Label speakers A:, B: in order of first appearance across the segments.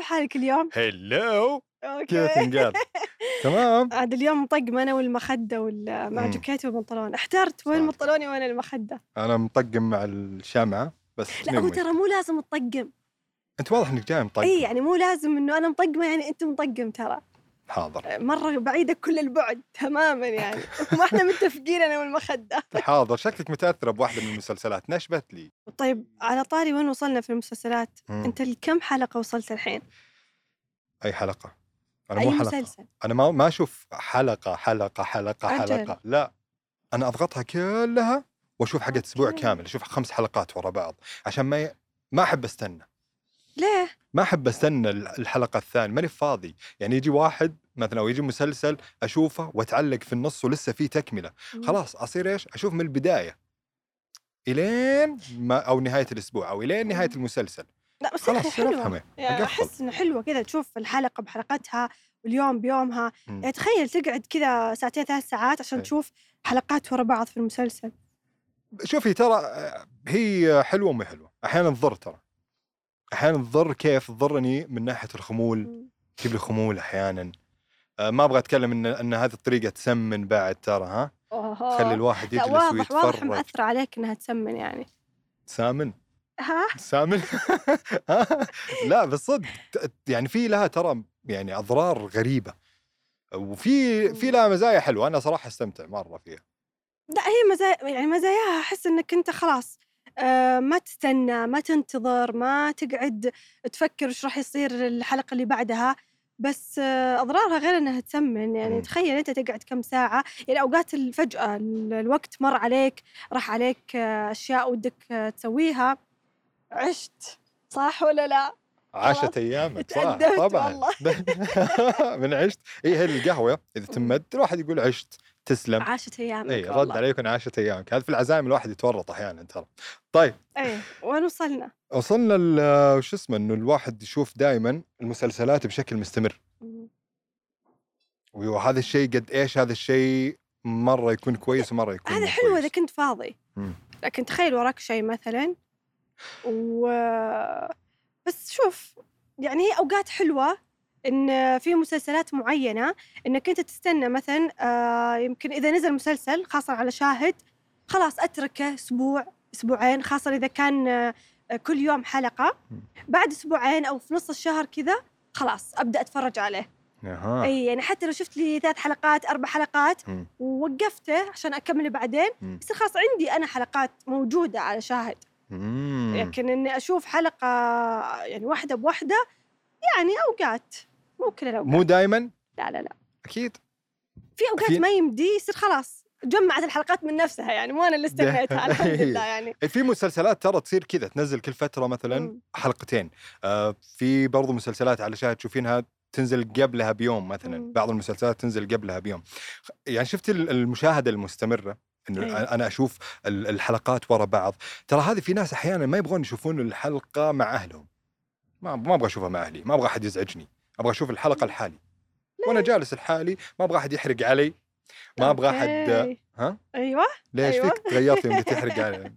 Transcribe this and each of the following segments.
A: حالك اليوم؟
B: هلو كيف
A: اوكي
B: تنقال تمام
A: عاد اليوم مطقم انا والمخده وال- مع
B: مم.
A: جاكيت وبنطلون احترت وين
B: صح.
A: بنطلوني وين المخده
B: انا مطقم مع الشمعه بس
A: لا هو
B: نومي.
A: ترى مو لازم مطقم
B: انت واضح انك جاي مطقم
A: اي يعني مو لازم انه انا مطقمه يعني انت مطقم ترى
B: حاضر
A: مره بعيده كل البعد تماما يعني ما احنا متفقين انا والمخده
B: حاضر شكلك متاثره بواحده من المسلسلات نشبت لي
A: طيب على طاري وين وصلنا في المسلسلات
B: مم.
A: انت لكم حلقه وصلت الحين
B: اي حلقه انا
A: اي
B: مو حلقه
A: مسلسل
B: انا ما ما اشوف حلقه حلقه حلقه
A: أجل.
B: حلقه لا انا اضغطها كلها واشوف حقت اسبوع
A: أوكي.
B: كامل اشوف خمس حلقات ورا بعض عشان ما ي... ما احب استنى
A: ليه
B: ما احب استنى ال- الحلقه الثانيه ماني فاضي يعني يجي واحد مثلا او يجي مسلسل اشوفه واتعلق في النص ولسه في تكمله خلاص اصير ايش اشوف من البدايه الين ما او نهايه الاسبوع او الين نهايه المسلسل
A: لا بس
B: خلاص
A: خلاص
B: أصير
A: حلوه
B: افهم إيه.
A: يعني
B: أقفل.
A: احس انه حلوه كذا تشوف الحلقه بحلقتها واليوم بيومها
B: مم.
A: يعني تخيل تقعد كذا ساعتين ثلاث ساعات عشان
B: إيه.
A: تشوف حلقات ورا بعض في المسلسل
B: شوفي ترى آه، هي حلوه ومو حلوه احيانا تضر ترى احيانا تضر كيف تضرني من ناحيه الخمول
A: مم.
B: تجيب لي خمول احيانا آه، ما ابغى اتكلم ان ان هذه الطريقه تسمن بعد ترى ها
A: أوه.
B: تخلي الواحد
A: لا
B: يجلس
A: واضح واضح
B: ويتفرج
A: مأثرة عليك انها تسمن يعني
B: سامن
A: ها
B: سامن ها؟ لا بالصدق ت- يعني في لها ترى يعني اضرار غريبه وفي في لها مزايا حلوه انا صراحه استمتع مره فيها
A: لا هي مزايا يعني مزاياها احس انك انت خلاص آه، ما تستنى ما تنتظر ما تقعد تفكر ايش راح يصير الحلقه اللي بعدها بس آه، اضرارها غير انها تسمن يعني
B: مم.
A: تخيل انت تقعد كم ساعه يعني اوقات ال- فجاه ال- الوقت مر عليك راح عليك آه، اشياء ودك آه، تسويها عشت صح ولا لا؟
B: عاشت ايامك صح
A: اتأدبت
B: طبعا من عشت اي هي القهوه اذا تمد الواحد يقول عشت تسلم
A: عاشت ايامك
B: اي إيه، رد
A: والله.
B: عليكم عاشت ايامك هذا في العزايم الواحد يتورط احيانا ترى طيب
A: اي وين وصلنا؟
B: وصلنا ل- وش اسمه انه الواحد يشوف دائما المسلسلات بشكل مستمر وهذا الشيء قد ايش هذا الشيء مره يكون كويس ومره يكون
A: هذا
B: مو
A: حلو
B: كويس.
A: اذا كنت فاضي
B: مم.
A: لكن تخيل وراك شيء مثلا و بس شوف يعني هي اوقات حلوه ان في مسلسلات معينه انك انت تستنى مثلا آه، يمكن اذا نزل مسلسل خاصه على شاهد خلاص اتركه اسبوع اسبوعين خاصه اذا كان آه، كل يوم حلقه
B: مم.
A: بعد اسبوعين او في نص الشهر كذا خلاص ابدا اتفرج عليه
B: اها
A: اي يعني حتى لو شفت لي ثلاث حلقات اربع حلقات
B: آه. مم.
A: ووقفته عشان اكمله بعدين
B: مم.
A: بس خلاص عندي انا حلقات موجوده على شاهد
B: مم.
A: لكن اني اشوف حلقه يعني واحده بواحده يعني اوقات مو كل الاوقات
B: مو دائما
A: لا لا لا
B: اكيد
A: في اوقات
B: في-
A: ما يمدي يصير خلاص جمعت الحلقات من نفسها يعني مو انا اللي استنيتها
B: إيه.
A: الحمد لله يعني
B: في مسلسلات ترى تصير كذا تنزل كل فتره مثلا
A: مم.
B: حلقتين آه في برضو مسلسلات على شاهد تشوفينها تنزل قبلها بيوم مثلا
A: مم.
B: بعض المسلسلات تنزل قبلها بيوم خ- يعني شفت ال- المشاهده المستمره انه
A: أيوة.
B: انا اشوف ال- الحلقات ورا بعض ترى هذه في ناس احيانا ما يبغون يشوفون الحلقه مع اهلهم ما ما ابغى اشوفها مع اهلي ما ابغى احد يزعجني ابغى اشوف الحلقه لحالي وانا جالس لحالي ما ابغى احد يحرق علي ما ابغى احد
A: أوكي.
B: ها؟
A: ايوه
B: ليش
A: أيوة.
B: فيك تغيرت يوم قلت تحرق علي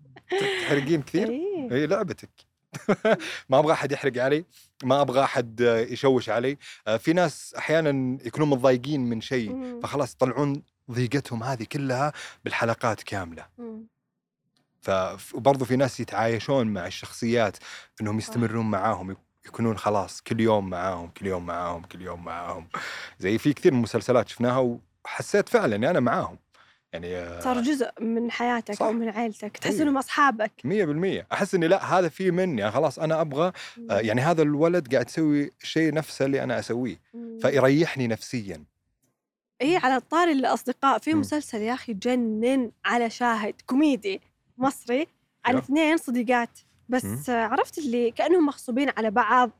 B: تحرقين كثير
A: إيه.
B: هي لعبتك ما ابغى احد يحرق علي ما ابغى احد آه، يشوش علي آه، في ناس احيانا يكونوا متضايقين من شيء
A: مم.
B: فخلاص يطلعون ضيقتهم هذه كلها بالحلقات كامله
A: مم.
B: ف- وبرضه في ناس يتعايشون مع الشخصيات انهم يستمرون معاهم يك- يكونون خلاص كل يوم معاهم كل يوم معاهم كل يوم معاهم زي في كثير من المسلسلات شفناها وحسيت فعلا اني انا معاهم يعني آه،
A: صار جزء من حياتك
B: صح.
A: او من عيلتك تحس
B: أيوة.
A: انهم اصحابك
B: 100% احس اني لا هذا في مني خلاص انا ابغى آه، يعني هذا الولد قاعد يسوي شيء نفسه اللي انا اسويه
A: مم.
B: فيريحني نفسيا إيه.
A: ايه على طاري الاصدقاء في
B: مم.
A: مسلسل يا اخي جنن على شاهد كوميدي مصري عن
B: يا. إيه.
A: اثنين صديقات بس آه، عرفت اللي كانهم مغصوبين على بعض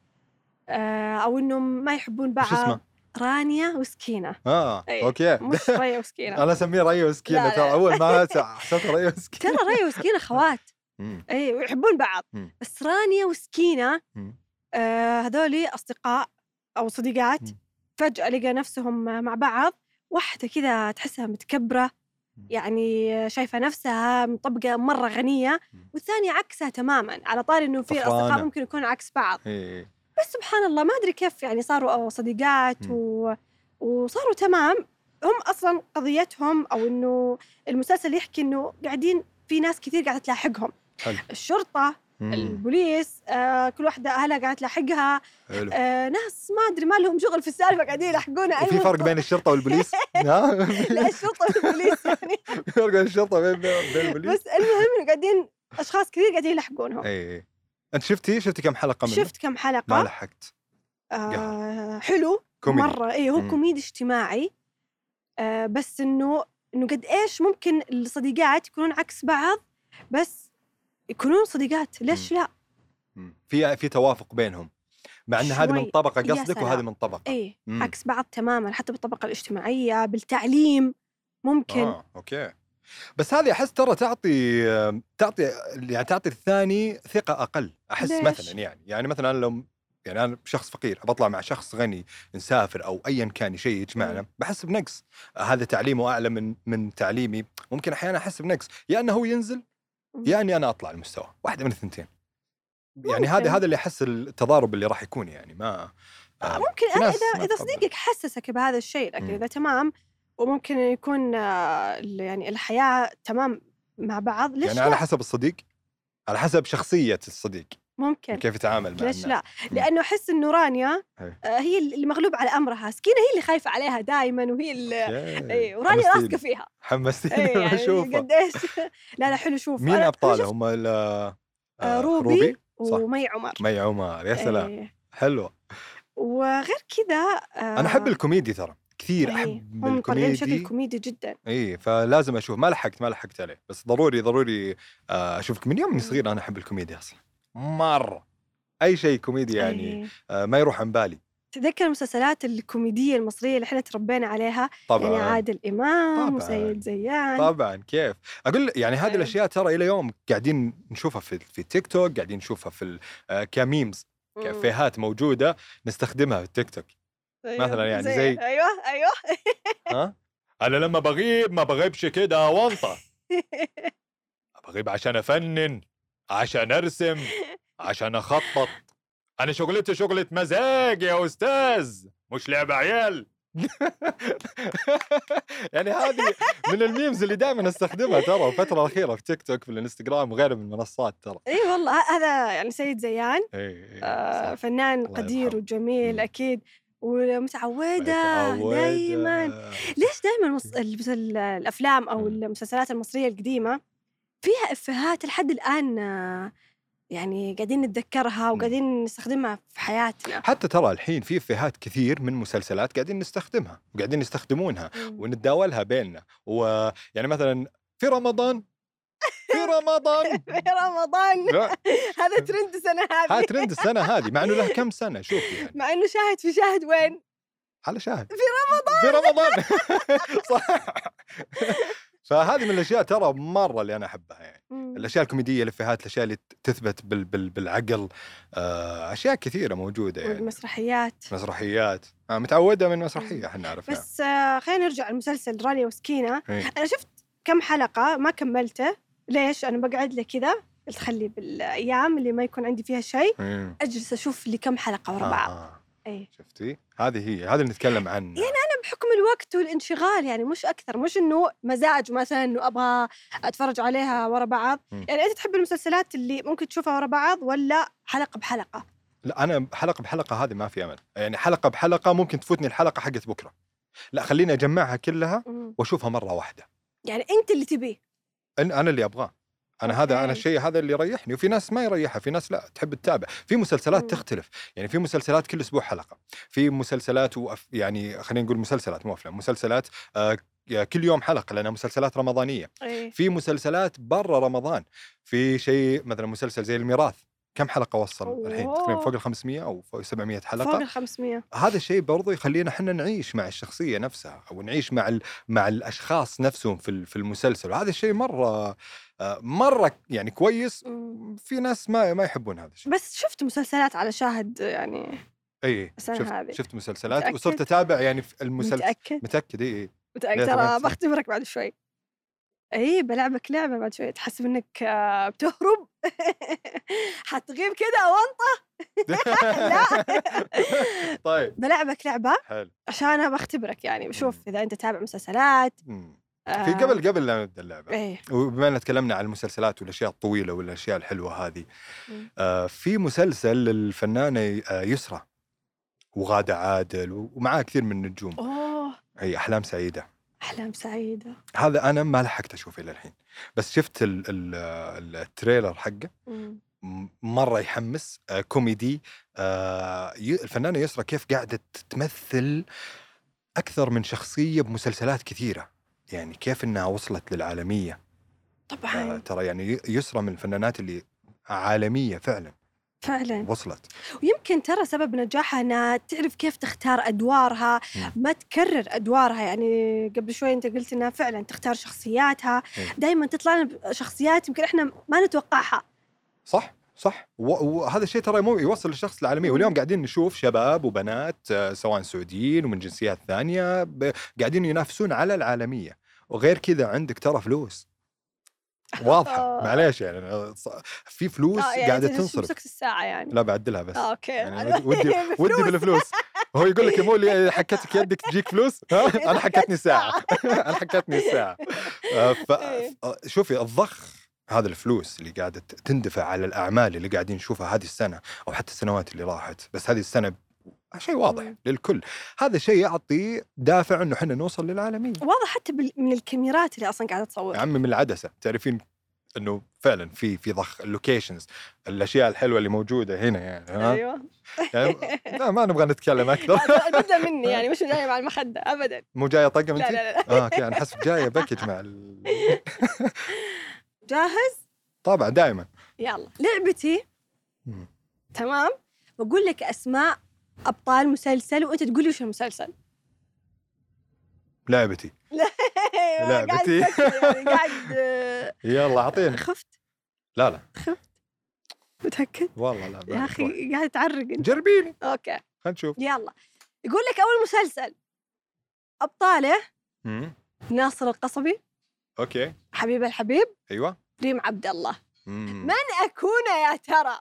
A: آه، او انهم ما يحبون
B: وش اسمه؟
A: بعض رانيا وسكينه
B: اه
A: أي.
B: اوكي
A: مش ريا وسكينه
B: انا اسميه ري وسكينه
A: لا، لا.
B: ترى اول ما حسيت ري
A: ترى
B: وسكينه
A: ريا وسكينه خوات
B: مم.
A: اي ويحبون بعض
B: مم.
A: بس رانيا وسكينه
B: مم.
A: آه، هذولي اصدقاء او صديقات
B: مم.
A: فجاه لقى نفسهم مع بعض واحده كذا تحسها متكبره
B: مم.
A: يعني شايفه نفسها مطبقه مره غنيه
B: مم.
A: والثانيه عكسها تماما على طاري انه في
B: طفرانة.
A: اصدقاء ممكن يكونوا عكس بعض
B: إي.
A: بس سبحان الله ما ادري كيف يعني صاروا صديقات
B: مم.
A: و... وصاروا تمام هم اصلا قضيتهم او انه المسلسل يحكي انه قاعدين في ناس كثير قاعده تلاحقهم
B: حلو.
A: الشرطه
B: مم.
A: البوليس آه، كل واحده اهلها قاعده تلاحقها
B: حلو
A: آه، ناس ما ادري ما لهم شغل في السالفه قاعدين يلاحقونها
B: وفي
A: أيوة.
B: فرق بين الشرطه والبوليس؟ ها؟
A: لا الشرطه والبوليس يعني
B: في فرق بين الشرطه وبين بين البوليس؟
A: بس المهم انه قاعدين اشخاص كثير قاعدين يلحقونهم
B: اي إي. انت إيه. شفتي شفتي كم حلقه منه؟
A: شفت كم
B: ما
A: حلقه
B: لحقت
A: آه حلو
B: كوميدي
A: مره اي هو
B: مم.
A: كوميدي اجتماعي آه بس انه انه قد ايش ممكن الصديقات يكونون عكس بعض بس يكونون صديقات ليش لا
B: مم. في في توافق بينهم مع ان هذه من
A: شوي.
B: طبقه
A: يا
B: قصدك
A: سلام.
B: وهذه من طبقه
A: اي
B: مم.
A: إيه، عكس بعض تماما حتى بالطبقه الاجتماعيه بالتعليم ممكن
B: اه اوكي بس هذه احس ترى تعطي تعطي يعني تعطي الثاني ثقه اقل احس
A: ليش؟
B: مثلا يعني يعني مثلا أنا لو يعني انا شخص فقير بطلع مع شخص غني نسافر او ايا كان شيء يجمعنا بحس بنقص هذا تعليمه اعلى من من تعليمي ممكن احيانا احس بنقص يا انه هو ينزل يا اني انا اطلع المستوى واحده من الثنتين يعني
A: ممكن.
B: هذا هذا اللي احس التضارب اللي راح يكون يعني ما آه،
A: ممكن
B: في
A: انا
B: ناس
A: اذا
B: ما إمم.
A: اذا
B: تقبل.
A: صديقك حسسك بهذا الشيء لكن
B: مم.
A: اذا تمام وممكن يكون آه، ال- يعني الحياه تمام مع بعض ليش
B: يعني
A: لا
B: على حسب الصديق على حسب شخصيه الصديق
A: ممكن
B: كيف يتعامل مع
A: ليش
B: الناس.
A: لا؟ لانه احس انه رانيا
B: أي.
A: آه، هي اللي مغلوب على امرها، سكينه هي اللي خايفه عليها دائما وهي اللي اي ورانيا
B: حمستيني.
A: واثقه فيها
B: حمستيني
A: اي
B: يعني
A: يعني
B: اشوفه
A: قد ايش لا لا حلو شوف
B: مين
A: أنا- أنا
B: ابطاله
A: شفت
B: هم ال- آه،
A: آه، روبي,
B: صح.
A: ومي عمر
B: مي عمر يا سلام
A: إيه.
B: حلوه
A: وغير كذا
B: انا احب الكوميدي ترى كثير احب
A: آه. إيه. هم طالعين بشكل
B: الكوميدي
A: كوميدي جدا
B: اي فلازم اشوف ما لحقت ما لحقت عليه بس ضروري ضروري آه، اشوف من
A: إيه.
B: يوم اني صغير انا احب الكوميديا اصلا مره اي شيء كوميدي يعني
A: إيه.
B: آه، ما يروح عن بالي
A: تتذكر المسلسلات الكوميديه المصريه اللي احنا تربينا عليها يعني
B: طبعا
A: عادل امام
B: طبعاً.
A: وسيد زيان
B: طبعا كيف اقول يعني هذه
A: طيب.
B: الاشياء ترى الى يوم قاعدين نشوفها في في تيك توك قاعدين نشوفها في آه، كميمز
A: مم.
B: كافيهات موجوده نستخدمها في التيك توك
A: أيوة،
B: مثلاً يعني زي-
A: ايوه ايوه
B: ها انا لما بغيب ما بغيبش كده وانطه بغيب عشان افنن عشان ارسم عشان اخطط انا شغلتي شغله مزاج يا استاذ مش لعبه عيال يعني هذه من الميمز اللي دائما استخدمها ترى الفتره الاخيره في تيك توك في الانستغرام وغيره من المنصات ترى إيه،
A: اي إيه والله ه- هذا يعني سيد زيان
B: اي
A: آه، فنان
B: الله
A: قدير
B: يرحمه.
A: وجميل
B: مم.
A: اكيد ومتعوده دائما ليش دائما الافلام او
B: مم.
A: المسلسلات المصريه القديمه فيها افيهات لحد الان آه، يعني قاعدين نتذكرها
B: مم.
A: وقاعدين نستخدمها في حياتنا
B: حتى ترى الحين في افيهات كثير من مسلسلات قاعدين نستخدمها وقاعدين يستخدمونها ونتداولها بيننا ويعني مثلا في رمضان في رمضان
A: في رمضان
B: لا،
A: هذا ترند السنه
B: ها
A: هذه
B: ترند السنه هذه مع انه له كم سنه شوف يعني
A: مع انه شاهد في شاهد وين
B: على شاهد في رمضان في رمضان صح فهذه من الاشياء ترى مره اللي انا احبها يعني
A: مم.
B: الاشياء الكوميديه الافيهات الاشياء اللي تثبت بال بال بالعقل آه، اشياء كثيره موجوده يعني
A: والمسرحيات
B: مسرحيات آه، متعوده من مسرحيه احنا عرفناها
A: بس آه، خلينا نرجع لمسلسل رانيا وسكينه
B: إيه.
A: انا شفت كم حلقه ما كملته ليش انا بقعد لي كذا قلت خلي بالايام اللي ما يكون عندي فيها شيء
B: مم.
A: اجلس اشوف لي كم حلقه ورا بعض
B: آه.
A: اي
B: شفتي هذه هي هذا اللي نتكلم عنه
A: يعني انا بحكم الوقت والانشغال يعني مش اكثر مش انه مزاج مثلا انه ابغى اتفرج عليها ورا بعض
B: مم.
A: يعني انت تحب المسلسلات اللي ممكن تشوفها ورا بعض ولا حلقه بحلقه
B: لا انا حلقه بحلقه هذه ما في امل يعني حلقه بحلقه ممكن تفوتني الحلقه حقت بكره لا خليني اجمعها كلها واشوفها مره واحده
A: يعني انت اللي تبيه
B: إن انا اللي ابغاه انا هذا انا
A: أوكي.
B: الشيء هذا اللي يريحني وفي ناس ما يريحها في ناس لا تحب تتابع في مسلسلات
A: مم.
B: تختلف يعني في مسلسلات كل اسبوع حلقه في مسلسلات وأف يعني خلينا نقول مسلسلات مو افلام مسلسلات آه كل يوم حلقه لانها مسلسلات رمضانيه
A: ايه
B: في مسلسلات برا رمضان في شيء مثلا مسلسل زي الميراث كم حلقه وصل الحين تقريبا
A: أوه.
B: فوق ال 500 او فوق 700
A: فوق
B: حلقه
A: ال 500
B: هذا الشيء برضو يخلينا احنا نعيش مع الشخصيه نفسها او نعيش مع ال... مع الاشخاص نفسهم في ال- في المسلسل وهذا الشيء مره آه، مره يعني كويس
A: مم.
B: في ناس ما ما يحبون هذا الشيء
A: بس شفت مسلسلات على شاهد يعني
B: اي
A: السنة
B: إيه. شفت
A: هذه.
B: شفت مسلسلات
A: متأكد؟
B: وصرت اتابع يعني في المسلسل
A: متاكد
B: متاكد اي
A: متاكد
B: ليه
A: ترى
B: تابعت؟
A: بختبرك بعد شوي اي بلعبك لعبه بعد شوي تحسب انك آه، بتهرب حتغيب كذا وانطه لا
B: طيب
A: بلعبك لعبه
B: حلو
A: عشان انا بختبرك يعني بشوف اذا انت تابع مسلسلات
B: مم.
A: آه،
B: في قبل قبل لا نبدا اللعبه
A: ايه
B: وبما ان تكلمنا عن المسلسلات والاشياء الطويله والاشياء الحلوه هذه
A: مم.
B: آه في مسلسل للفنانه آه، يسرى وغاده عادل ومعاه كثير من النجوم
A: اوه
B: هي احلام سعيده
A: احلام سعيده
B: هذا انا ما لحقت اشوفه الى الحين بس شفت ال ال ال- التريلر حقه
A: مم.
B: م- مره يحمس آه، كوميدي آه، ي- الفنانه يسرا كيف قاعده تمثل اكثر من شخصيه بمسلسلات كثيره يعني كيف انها وصلت للعالميه آه،
A: طبعا
B: ترى يعني ي- يسرا من الفنانات اللي عالميه فعلا
A: فعلا
B: وصلت
A: ويمكن ترى سبب نجاحها انها تعرف كيف تختار ادوارها
B: مم.
A: ما تكرر ادوارها يعني قبل شوي انت قلت انها فعلا تختار شخصياتها
B: إيه.
A: دائما تطلع لنا بشخصيات يمكن احنا ما نتوقعها
B: صح صح و- وهذا الشيء ترى مو يوصل الشخص العالمية واليوم قاعدين نشوف شباب وبنات آه، سواء سعوديين ومن جنسيات ثانية ب- قاعدين ينافسون على العالمية وغير كذا عندك ترى فلوس واضحة معليش يعني آه، ص- في فلوس
A: آه، يعني
B: قاعدة
A: أنت
B: تنصرف
A: مسكت الساعه يعني
B: لا بعدلها بس
A: اه اوكي
B: يعني
A: أنا-
B: ودي ودي
A: بفلوس.
B: بالفلوس هو يقول لك يا مو اللي حكتك يدك تجيك فلوس ها انا حكتني ساعه انا حكتني ساعه آه، ف
A: إيه.
B: آه، شوفي الضخ هذا الفلوس اللي قاعده ت- تندفع على الاعمال اللي قاعدين نشوفها هذه السنه او حتى السنوات اللي راحت بس هذه السنه شيء واضح
A: مم.
B: للكل هذا شيء يعطي دافع انه احنا نوصل للعالميه
A: واضح حتى بال- من الكاميرات اللي اصلا قاعده تصور
B: يا عمي من العدسه تعرفين انه فعلا في في ضخ اللوكيشنز الاشياء الحلوه اللي موجوده هنا يعني ها؟
A: ايوه
B: يعني لا ما نبغى نتكلم اكثر
A: لا، بدا مني يعني مش جايه مع المخده ابدا
B: مو جايه طقم
A: لا
B: انت؟
A: لا لا
B: اه اوكي انا حسب جايه باكج مع ال...
A: جاهز
B: طبعا دائما
A: يلا لعبتي
B: مم.
A: تمام بقول لك اسماء ابطال مسلسل وانت تقول لي وش المسلسل
B: لعبتي
A: أيوة، قاعد
B: لعبتي.
A: أفكر يعني، قاعد آه،
B: يلا اعطيني
A: خفت
B: لا لا
A: متاكد
B: والله لا
A: يا
B: ما-
A: اخي قاعد تعرق انت
B: جربيني
A: اوكي
B: خلينا نشوف
A: يلا يقول لك اول مسلسل ابطاله
B: مم.
A: ناصر القصبي
B: اوكي
A: حبيب الحبيب
B: ايوه
A: ريم عبد الله
B: مم.
A: من اكون يا ترى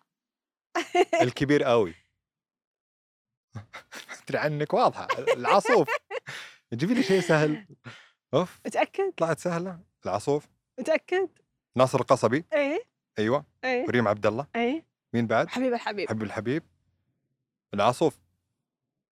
B: الكبير قوي ادري عنك واضحه العصوف جيبي لي شيء سهل اوف
A: متاكد
B: طلعت سهله العصوف
A: متاكد
B: ناصر القصبي
A: ايه
B: ايوه
A: ايه
B: وريم عبد الله
A: ايه
B: مين بعد؟
A: حبيب الحبيب
B: حب الحبيب العصوف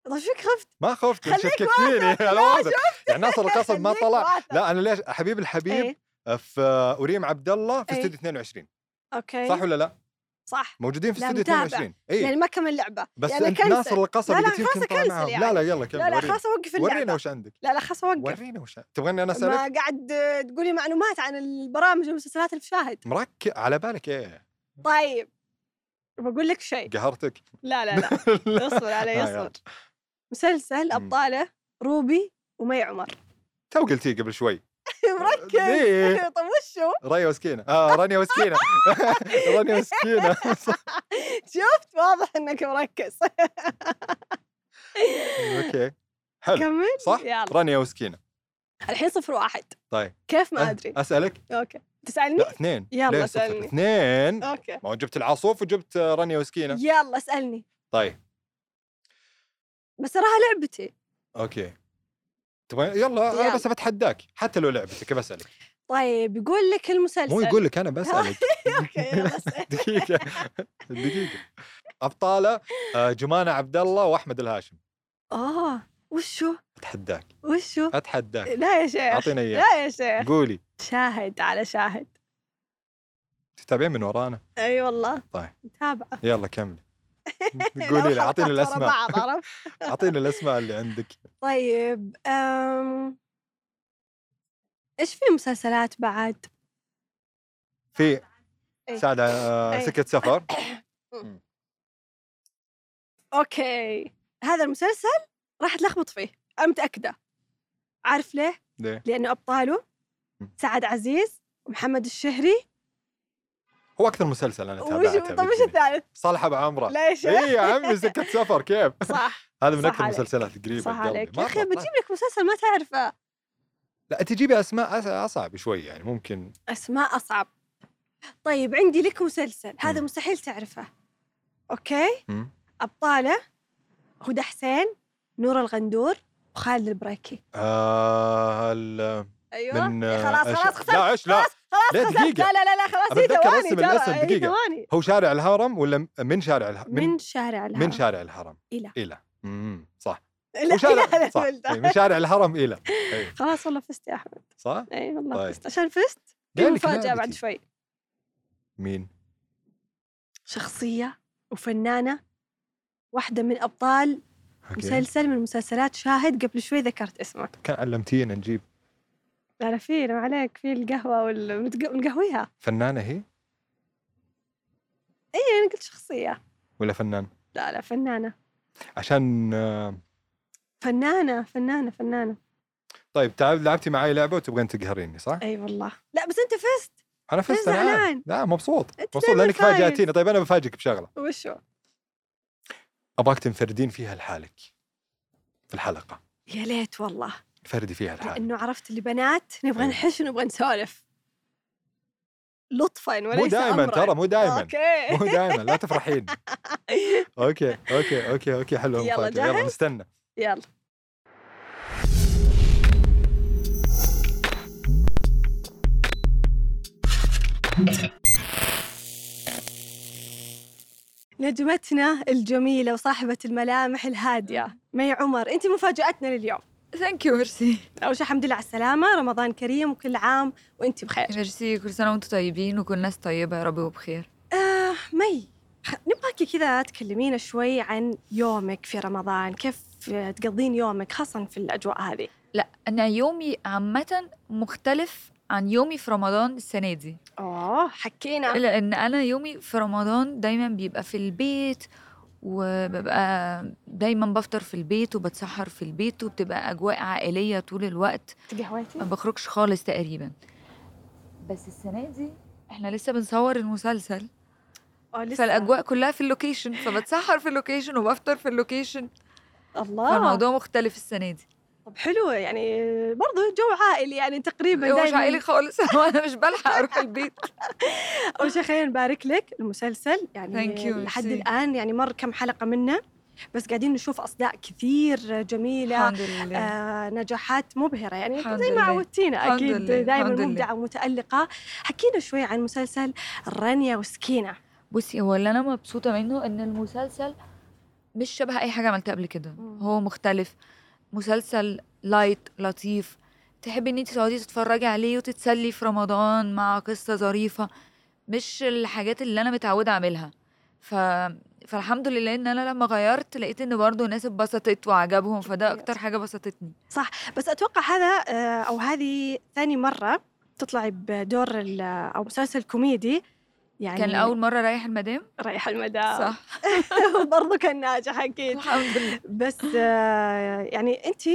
A: طيب شو فيك خفت
B: ما خفت
A: خليك
B: شكك فيني انا واثق يعني ناصر القصب ما
A: خليك
B: طلع
A: واثق.
B: لا انا ليش حبيب الحبيب آه،
A: ايه
B: في وريم عبد الله في
A: إيه.
B: استوديو 22
A: اوكي
B: صح ولا لا؟
A: صح
B: موجودين في
A: لا،
B: استوديو
A: متابع.
B: 22 اي
A: يعني ما كمل لعبه
B: إيه، بس
A: يعني
B: انت
A: كنسل.
B: ناصر القصبي
A: لا، لا،
B: قلت يمكن
A: خلاص
B: طلع
A: كنسل
B: معاهم
A: يعني.
B: لا لا يلا كمل
A: لا لا
B: ورينا
A: خلاص اوقف
B: ورينا
A: اللعبه
B: وش عندك
A: لا لا خلاص اوقف
B: ورينا وش عندك تبغاني انا اسالك؟
A: ما قاعد تقولي معلومات عن البرامج والمسلسلات اللي في شاهد
B: مركز على بالك ايه
A: طيب بقول لك شيء
B: قهرتك
A: لا لا لا اصبر علي
B: آه، إمم.
A: اصبر مسلسل ابطاله روبي ومي عمر
B: تو قلتيه قبل شوي
A: مركز
B: آه، ليه؟
A: طب وشو
B: ريا وسكينه اه رانيا وسكينه رانيا وسكينه
A: شفت واضح انك مركز
B: اوكي حلو
A: كمل
B: صح؟
A: يلا
B: رانيا وسكينه
A: الحين صفر واحد
B: طيب.
A: كيف ما
B: أه،
A: ادري
B: اسالك؟
A: اوكي تسالني
B: لا اثنين
A: يلا
B: ليه صفر؟
A: اسألني.
B: اثنين
A: اوكي
B: ما هو جبت العاصوف وجبت آه، رانيا وسكينه
A: يلا اسالني
B: طيب
A: بس تراها لعبتي
B: اوكي تبغى يلا
A: يلا.
B: انا بس بتحداك حتى لو لعبتك بسالك
A: طيب يقول لك المسلسل
B: مو يقول لك انا بسالك
A: اوكي يلا اسأل.
B: دقيقه دقيقه ابطاله آه، جمانه عبد الله واحمد الهاشم
A: اه وشو
B: اتحداك
A: وشو
B: اتحداك
A: لا يا شيخ
B: اعطينا اياه
A: لا يا شيخ
B: قولي
A: شاهد على شاهد
B: تتابعين من ورانا
A: اي والله
B: طيب.
A: متابعة
B: يلا كملي
A: لو
B: قولي لي
A: حلقات
B: اعطيني
A: ورا
B: الاسماء
A: بعض، عرفت؟
B: اعطيني الاسماء اللي عندك
A: طيب أم... ايش في مسلسلات بعد؟
B: في
A: إيه.
B: سعد آه،
A: إيه.
B: سكه سفر
A: اوكي هذا المسلسل راح تلخبط فيه انا متاكده عارف ليه؟
B: ليه؟
A: لانه ابطاله
B: م.
A: سعد عزيز ومحمد الشهري
B: هو اكثر مسلسل انا
A: وش
B: تابعته آه. إيه.
A: طب وش الثالث؟
B: صالح ابو عمره
A: لا يا شيخ
B: اي يا عمي سكه سفر كيف
A: صح
B: هذا من
A: صح عليك.
B: اكثر المسلسلات القريبه
A: صح
B: لقلبي.
A: عليك يا
B: مرة،
A: اخي
B: مرة.
A: بجيب لك مسلسل ما تعرفه
B: لا تجيبي اسماء أص- اصعب شوي يعني ممكن
A: اسماء اصعب طيب عندي لك مسلسل هذا
B: مم.
A: مستحيل تعرفه اوكي
B: مم.
A: ابطاله هدى حسين نور الغندور وخالد البريكي
B: آه ال-
A: ايوه
B: من
A: خلاص
B: آه،
A: خلاص
B: أش-
A: خسرت
B: لا ايش لا
A: خلاص
B: لا،
A: خسرت.
B: دقيقة.
A: لا لا لا, لا خلاص
B: أنا
A: هي
B: بتذكر
A: ثواني
B: اسم
A: ترى،
B: الاسم،
A: هي
B: دقيقة.
A: ثواني
B: هو شارع الهرم ولا م- من شارع الهرم
A: من شارع الهرم
B: من شارع الهرم
A: إلى.
B: الى امم صح
A: لا
B: وشارع-
A: لا لا
B: صح
A: لا،
B: إي، من شارع الهرم الى
A: خلاص والله فزت يا احمد
B: صح
A: اي والله
B: طيب.
A: فزت عشان فزت في
B: قال لك
A: مفاجاه
B: لعبتي.
A: بعد شوي
B: مين
A: شخصيه وفنانه واحده من ابطال
B: أوكي.
A: مسلسل من مسلسلات شاهد قبل شوي ذكرت اسمه
B: كان علمتينا نجيب
A: انا في ما عليك في القهوه وال- متق- مقهويها
B: فنانه هي
A: اي انا إيه، قلت شخصيه
B: ولا فنان
A: لا لا فنانه
B: عشان آه،
A: فنانه فنانه فنانه
B: طيب تعال لعبتي معي لعبه وتبغين تقهريني صح
A: اي والله لا بس انت فزت
B: انا فزت
A: ليه
B: الآن.
A: زعلان؟
B: لا مبسوط
A: أنت
B: مبسوط
A: دايماً
B: لانك
A: فايز.
B: فاجاتيني طيب انا بفاجئك بشغله
A: وشو
B: ابغاك تنفردين فيها لحالك في الحلقه
A: يا ليت والله
B: فردي فيها لحالك
A: لانه عرفت اللي بنات نبغى
B: أيوة.
A: نحش ونبغى نسولف لطفا وليس
B: مو دائما
A: أمراً.
B: ترى مو دائما
A: اوكي
B: مو دائما لا تفرحين اوكي اوكي اوكي اوكي حلو
A: يلا،
B: المفاجأة. يلا
A: جاهز؟
B: نستنى
A: يلا نجمتنا الجميلة وصاحبة الملامح الهادية مي عمر أنت مفاجأتنا لليوم
C: ثانك يو ميرسي
A: أول شيء الحمد لله على السلامة رمضان كريم وكل عام وأنت بخير
C: ميرسي كل سنة وانتم طيبين وكل ناس طيبة يا رب وبخير
A: آه مي خ- نبغاكي كذا تكلمينا شوي عن يومك في رمضان كيف تقضين يومك خاصة في الأجواء هذه
C: لا أنا يومي عامة مختلف عن يومي في رمضان السنة دي
A: أوه حكينا
C: لأن أنا يومي في رمضان دايما بيبقى في البيت وببقى دايما بفطر في البيت وبتسحر في البيت وبتبقى أجواء عائلية طول الوقت
A: تقهويتي
C: ما بخرجش خالص تقريبا بس السنة دي احنا لسه بنصور المسلسل
A: أوه لسه.
C: فالأجواء كلها في اللوكيشن فبتسحر في اللوكيشن وبفطر في اللوكيشن
A: الله
C: فالموضوع مختلف السنه دي
A: طب حلو يعني برضو جو عائلي يعني تقريبا
C: هو مش
A: دايماً.
C: عائلي خالص وانا مش بلحق اروح البيت
A: اول شيء خلينا نبارك لك المسلسل يعني
C: Thank you,
A: لحد
C: merci.
A: الان يعني مر كم حلقه منه بس قاعدين نشوف اصداء كثير جميله
C: الحمد لله
A: آه نجاحات مبهره يعني
C: إيه. الحمد
A: زي ما
C: لله.
A: عودتينا
C: الحمد
A: اكيد
C: لله،
A: دائما
C: الحمد لله.
A: مبدعه ومتالقه حكينا شوي عن مسلسل رانيا وسكينه
C: بصي هو اللي انا مبسوطه منه ان المسلسل مش شبه اي حاجه عملتها قبل كده
A: مم.
C: هو مختلف مسلسل لايت لطيف تحبي ان انت تقعدي تتفرجي عليه وتتسلي في رمضان مع قصه ظريفه مش الحاجات اللي انا متعوده اعملها ف... فالحمد لله ان انا لما غيرت لقيت ان برضه الناس اتبسطت وعجبهم فده اكتر حاجه بسطتني
A: بس اتوقع هذا آه، او هذه ثاني مره تطلعي بدور ال- او مسلسل كوميدي يعني
C: كان اول مره رايح المدام
A: ريح المدام
C: صح
A: برضو كان ناجح اكيد
C: آه. الحمد لله
A: بس آه، يعني انت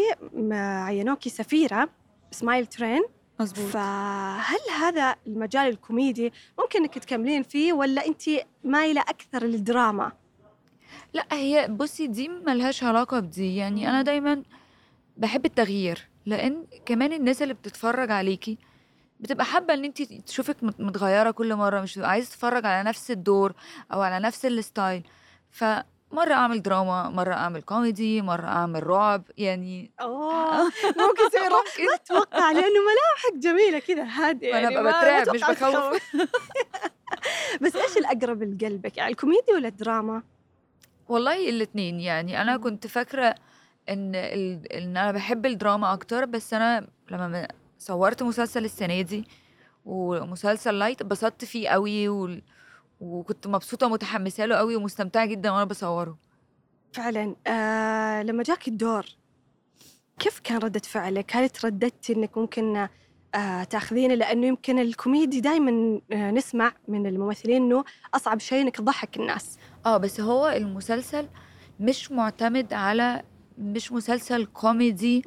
A: عينوكي سفيره سمايل ترين
C: مظبوط
A: فهل هذا المجال الكوميدي ممكن انك تكملين فيه ولا انت مايله اكثر للدراما
C: لا هي بصي دي ملهاش علاقة بدي يعني أنا دايما بحب التغيير لأن كمان الناس اللي بتتفرج عليكي بتبقى حابة إن أنت تشوفك مت- متغيرة كل مرة مش بتبقى عايزة تتفرج على نفس الدور أو على نفس الستايل فمرة أعمل دراما مرة أعمل كوميدي مرة أعمل رعب يعني
A: اوه آه. ممكن تسوي رعب
C: ممكن.
A: اتوقع لانه ملاحق جميله كذا هادئه
C: وأنا
A: يعني
C: أبقى
A: ما- ما
C: بترعب مش
A: أتوقع
C: بخوف
A: بس ايش الاقرب لقلبك يعني الكوميدي ولا الدراما
C: والله الاتنين يعني انا كنت فاكره ان ال... ان انا بحب الدراما اكتر بس انا لما م- صورت مسلسل السنه دي ومسلسل لايت اتبسطت فيه قوي و... وكنت مبسوطه ومتحمسه له قوي ومستمتعه جدا وانا بصوره
A: فعلا آه لما جاك الدور كيف كان ردة فعلك؟ هل ترددتي انك ممكن آه تاخذينه لانه يمكن الكوميدي دائما آه نسمع من الممثلين انه اصعب شيء انك تضحك الناس.
C: اه بس هو المسلسل مش معتمد على مش مسلسل كوميدي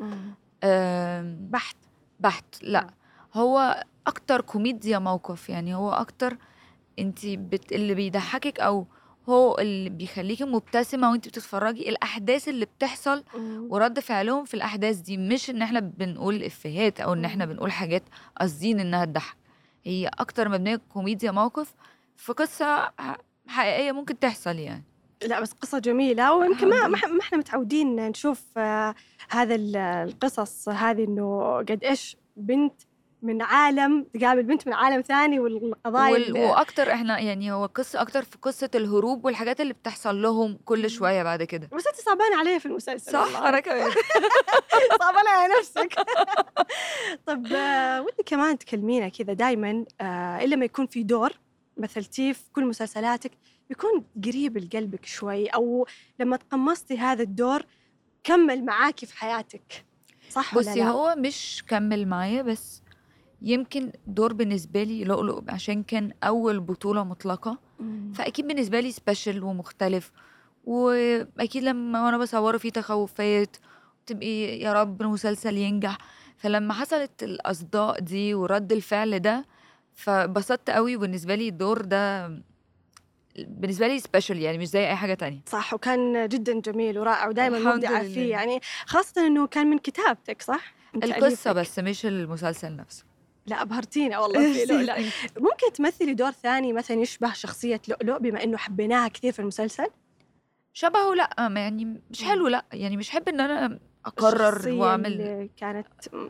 C: آم،
A: بحت
C: بحت لا
A: مم.
C: هو اكتر كوميديا موقف يعني هو اكتر انت بت... اللي بيضحكك او هو اللي بيخليكي مبتسمه وانت بتتفرجي الاحداث اللي بتحصل ورد فعلهم في الاحداث دي مش ان احنا بنقول افيهات او ان احنا
A: مم.
C: بنقول حاجات قاصدين انها تضحك هي اكتر مبنيه كوميديا موقف في قصه ح- حقيقيه ممكن تحصل يعني
A: لا بس قصة جميلة ويمكن ما ما
C: الحمد لله.
A: ح- ما احنا متعودين نشوف آه، هذا ال- القصص هذه انه قد ايش بنت من عالم تقابل بنت من عالم ثاني والقضايا
C: وال...
A: ال-
C: واكتر احنا يعني هو قصه اكتر في قصه الهروب والحاجات اللي بتحصل لهم كل شويه بعد كده
A: بس انت صعبانة علي في المسلسل
C: صح
A: والله.
C: انا كمان
A: صعبانة على نفسك طب آه، ودي كمان تكلمينا كذا دائما الا لما يكون في دور مثلتيه في كل مسلسلاتك بيكون قريب لقلبك شوي او لما تقمصتي هذا الدور كمل معاكي في حياتك صح ولا
C: بصي
A: لا؟
C: هو مش كمل معايا بس يمكن دور بالنسبه لي لؤلؤ عشان كان اول بطوله مطلقه
A: مم.
C: فاكيد بالنسبه لي سبيشال ومختلف واكيد لما وانا بصوره في تخوفات تبقي يا رب المسلسل ينجح فلما حصلت الاصداء دي ورد الفعل ده فبسطت قوي وبالنسبه لي الدور ده بالنسبه لي سبيشال يعني مش زي اي حاجه تانية
A: صح وكان جدا جميل ورائع ودائما
C: الحمد
A: مبدعة
C: لله.
A: فيه يعني خاصة انه كان من كتابتك صح؟ من
C: القصه
A: تأليفك.
C: بس مش المسلسل نفسه
A: لا ابهرتينا والله في لؤلؤ
C: Thank you.
A: ممكن تمثلي دور ثاني مثلا يشبه شخصية لؤلؤ بما انه حبيناها كثير في المسلسل
C: شبهه لا ما يعني مش حلو لا يعني مش حب ان انا اقرر
A: الشخصية
C: واعمل
A: اللي كانت م،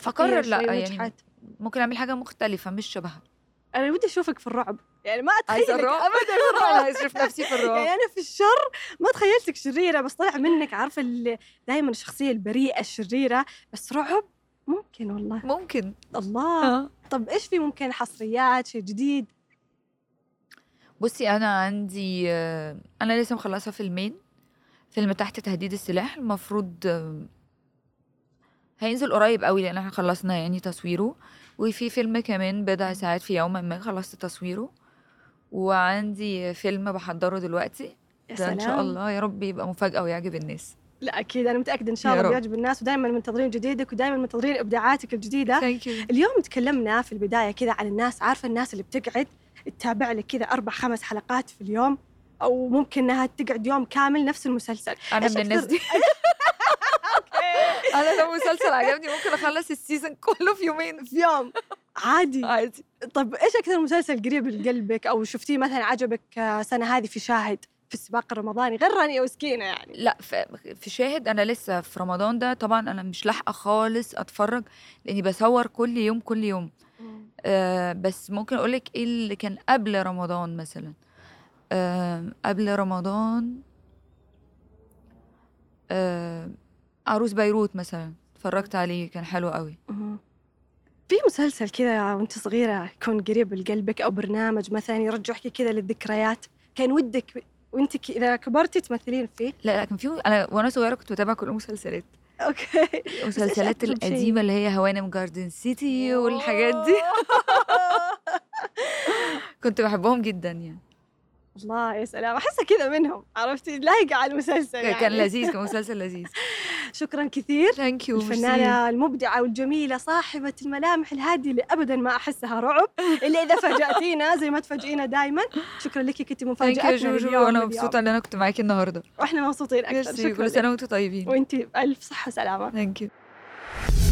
C: فقرر
A: فقيرة
C: لا
A: شوي
C: يعني
A: ونجحت.
C: ممكن اعمل حاجه مختلفه مش شبهها
A: انا ودي اشوفك في الرعب يعني ما
C: عايزه
A: اتخيلك
C: الرعب
A: ابدا في
C: طبعا
A: الرعب
C: انا هشرف نفسي في
A: يعني
C: الرعب
A: انا في الشر ما تخيلتك شريره بس طلع منك عارفه اللي دائما الشخصيه البريئه الشريره بس رعب ممكن والله
C: ممكن آه.
A: الله طب ايش في ممكن حصريات شيء جديد
C: بصي انا عندي آه، انا لسه مخلصه فيلمين فيلم تحت تهديد السلاح المفروض آه، هينزل قريب قوي لان احنا خلصنا يعني تصويره وفي فيلم كمان بضع ساعات في يوم ما خلصت تصويره وعندي فيلم بحضره دلوقتي
A: يا
C: ده
A: سلام
C: ان شاء الله يا رب يبقى مفاجاه ويعجب الناس
A: لا اكيد انا متاكده ان شاء
C: يا
A: الله
C: رب.
A: بيعجب الناس ودائما منتظرين جديدك ودائما منتظرين ابداعاتك الجديده
C: ثانك يو
A: اليوم تكلمنا في البدايه كذا عن الناس عارفه الناس اللي بتقعد تتابع لك كذا اربع خمس حلقات في اليوم او ممكن انها تقعد يوم كامل نفس المسلسل
C: انا
A: إيش
C: من الناس
A: أكثر-
C: دي انا لو مسلسل عجبني ممكن اخلص السيزون كله في يومين
A: في يوم عادي
C: عادي
A: طب ايش اكثر مسلسل قريب لقلبك او شفتيه مثلا عجبك آه، سنه هذه في شاهد في السباق الرمضاني غير رانيا وسكينه يعني
C: لا ف- في شاهد انا لسه في رمضان ده طبعا انا مش لاحقه خالص اتفرج لاني بصور كل يوم كل يوم أه بس ممكن اقولك ايه اللي كان قبل رمضان مثلا أه قبل رمضان أه عروس بيروت مثلا اتفرجت عليه كان حلو قوي
A: مم. في مسلسل كذا وانت صغيره يكون قريب لقلبك او برنامج مثلا يرجعك كذا للذكريات كان ودك وانت ك- اذا كبرتي تمثلين فيه
C: لا لا كان في انا وانا صغيره كنت بتابع كل المسلسلات
A: اوكي
C: المسلسلات
A: أكتر شيء؟
C: القديمه اللي هي هوانم جاردن سيتي أيوة، والحاجات دي كنت بحبهم جدا يعني
A: الله يا سلام احسها كذا منهم عرفتي لايقه على المسلسل يعني.
C: كان لذيذ أيوة، كان مسلسل لذيذ
A: شكرا كثير
C: ثانك يو
A: الفنانة المبدعة والجميلة صاحبة الملامح الهادية اللي أبدا ما أحسها رعب إلا إذا فاجأتينا زي ما تفاجئينا دائما شكرا لك كنت
C: ثانك يو
A: مفاجأتنا
C: جوجو
A: اليوم
C: وانا
A: اليوم
C: مبسوطه ان انا كنت معاكي النهارده
A: وإحنا مبسوطين أكثر
C: ميرسي
A: شكرا
C: كل
A: لك.
C: سنه وانتم طيبين
A: وأنت بألف صحة وسلامة
C: ثانك يو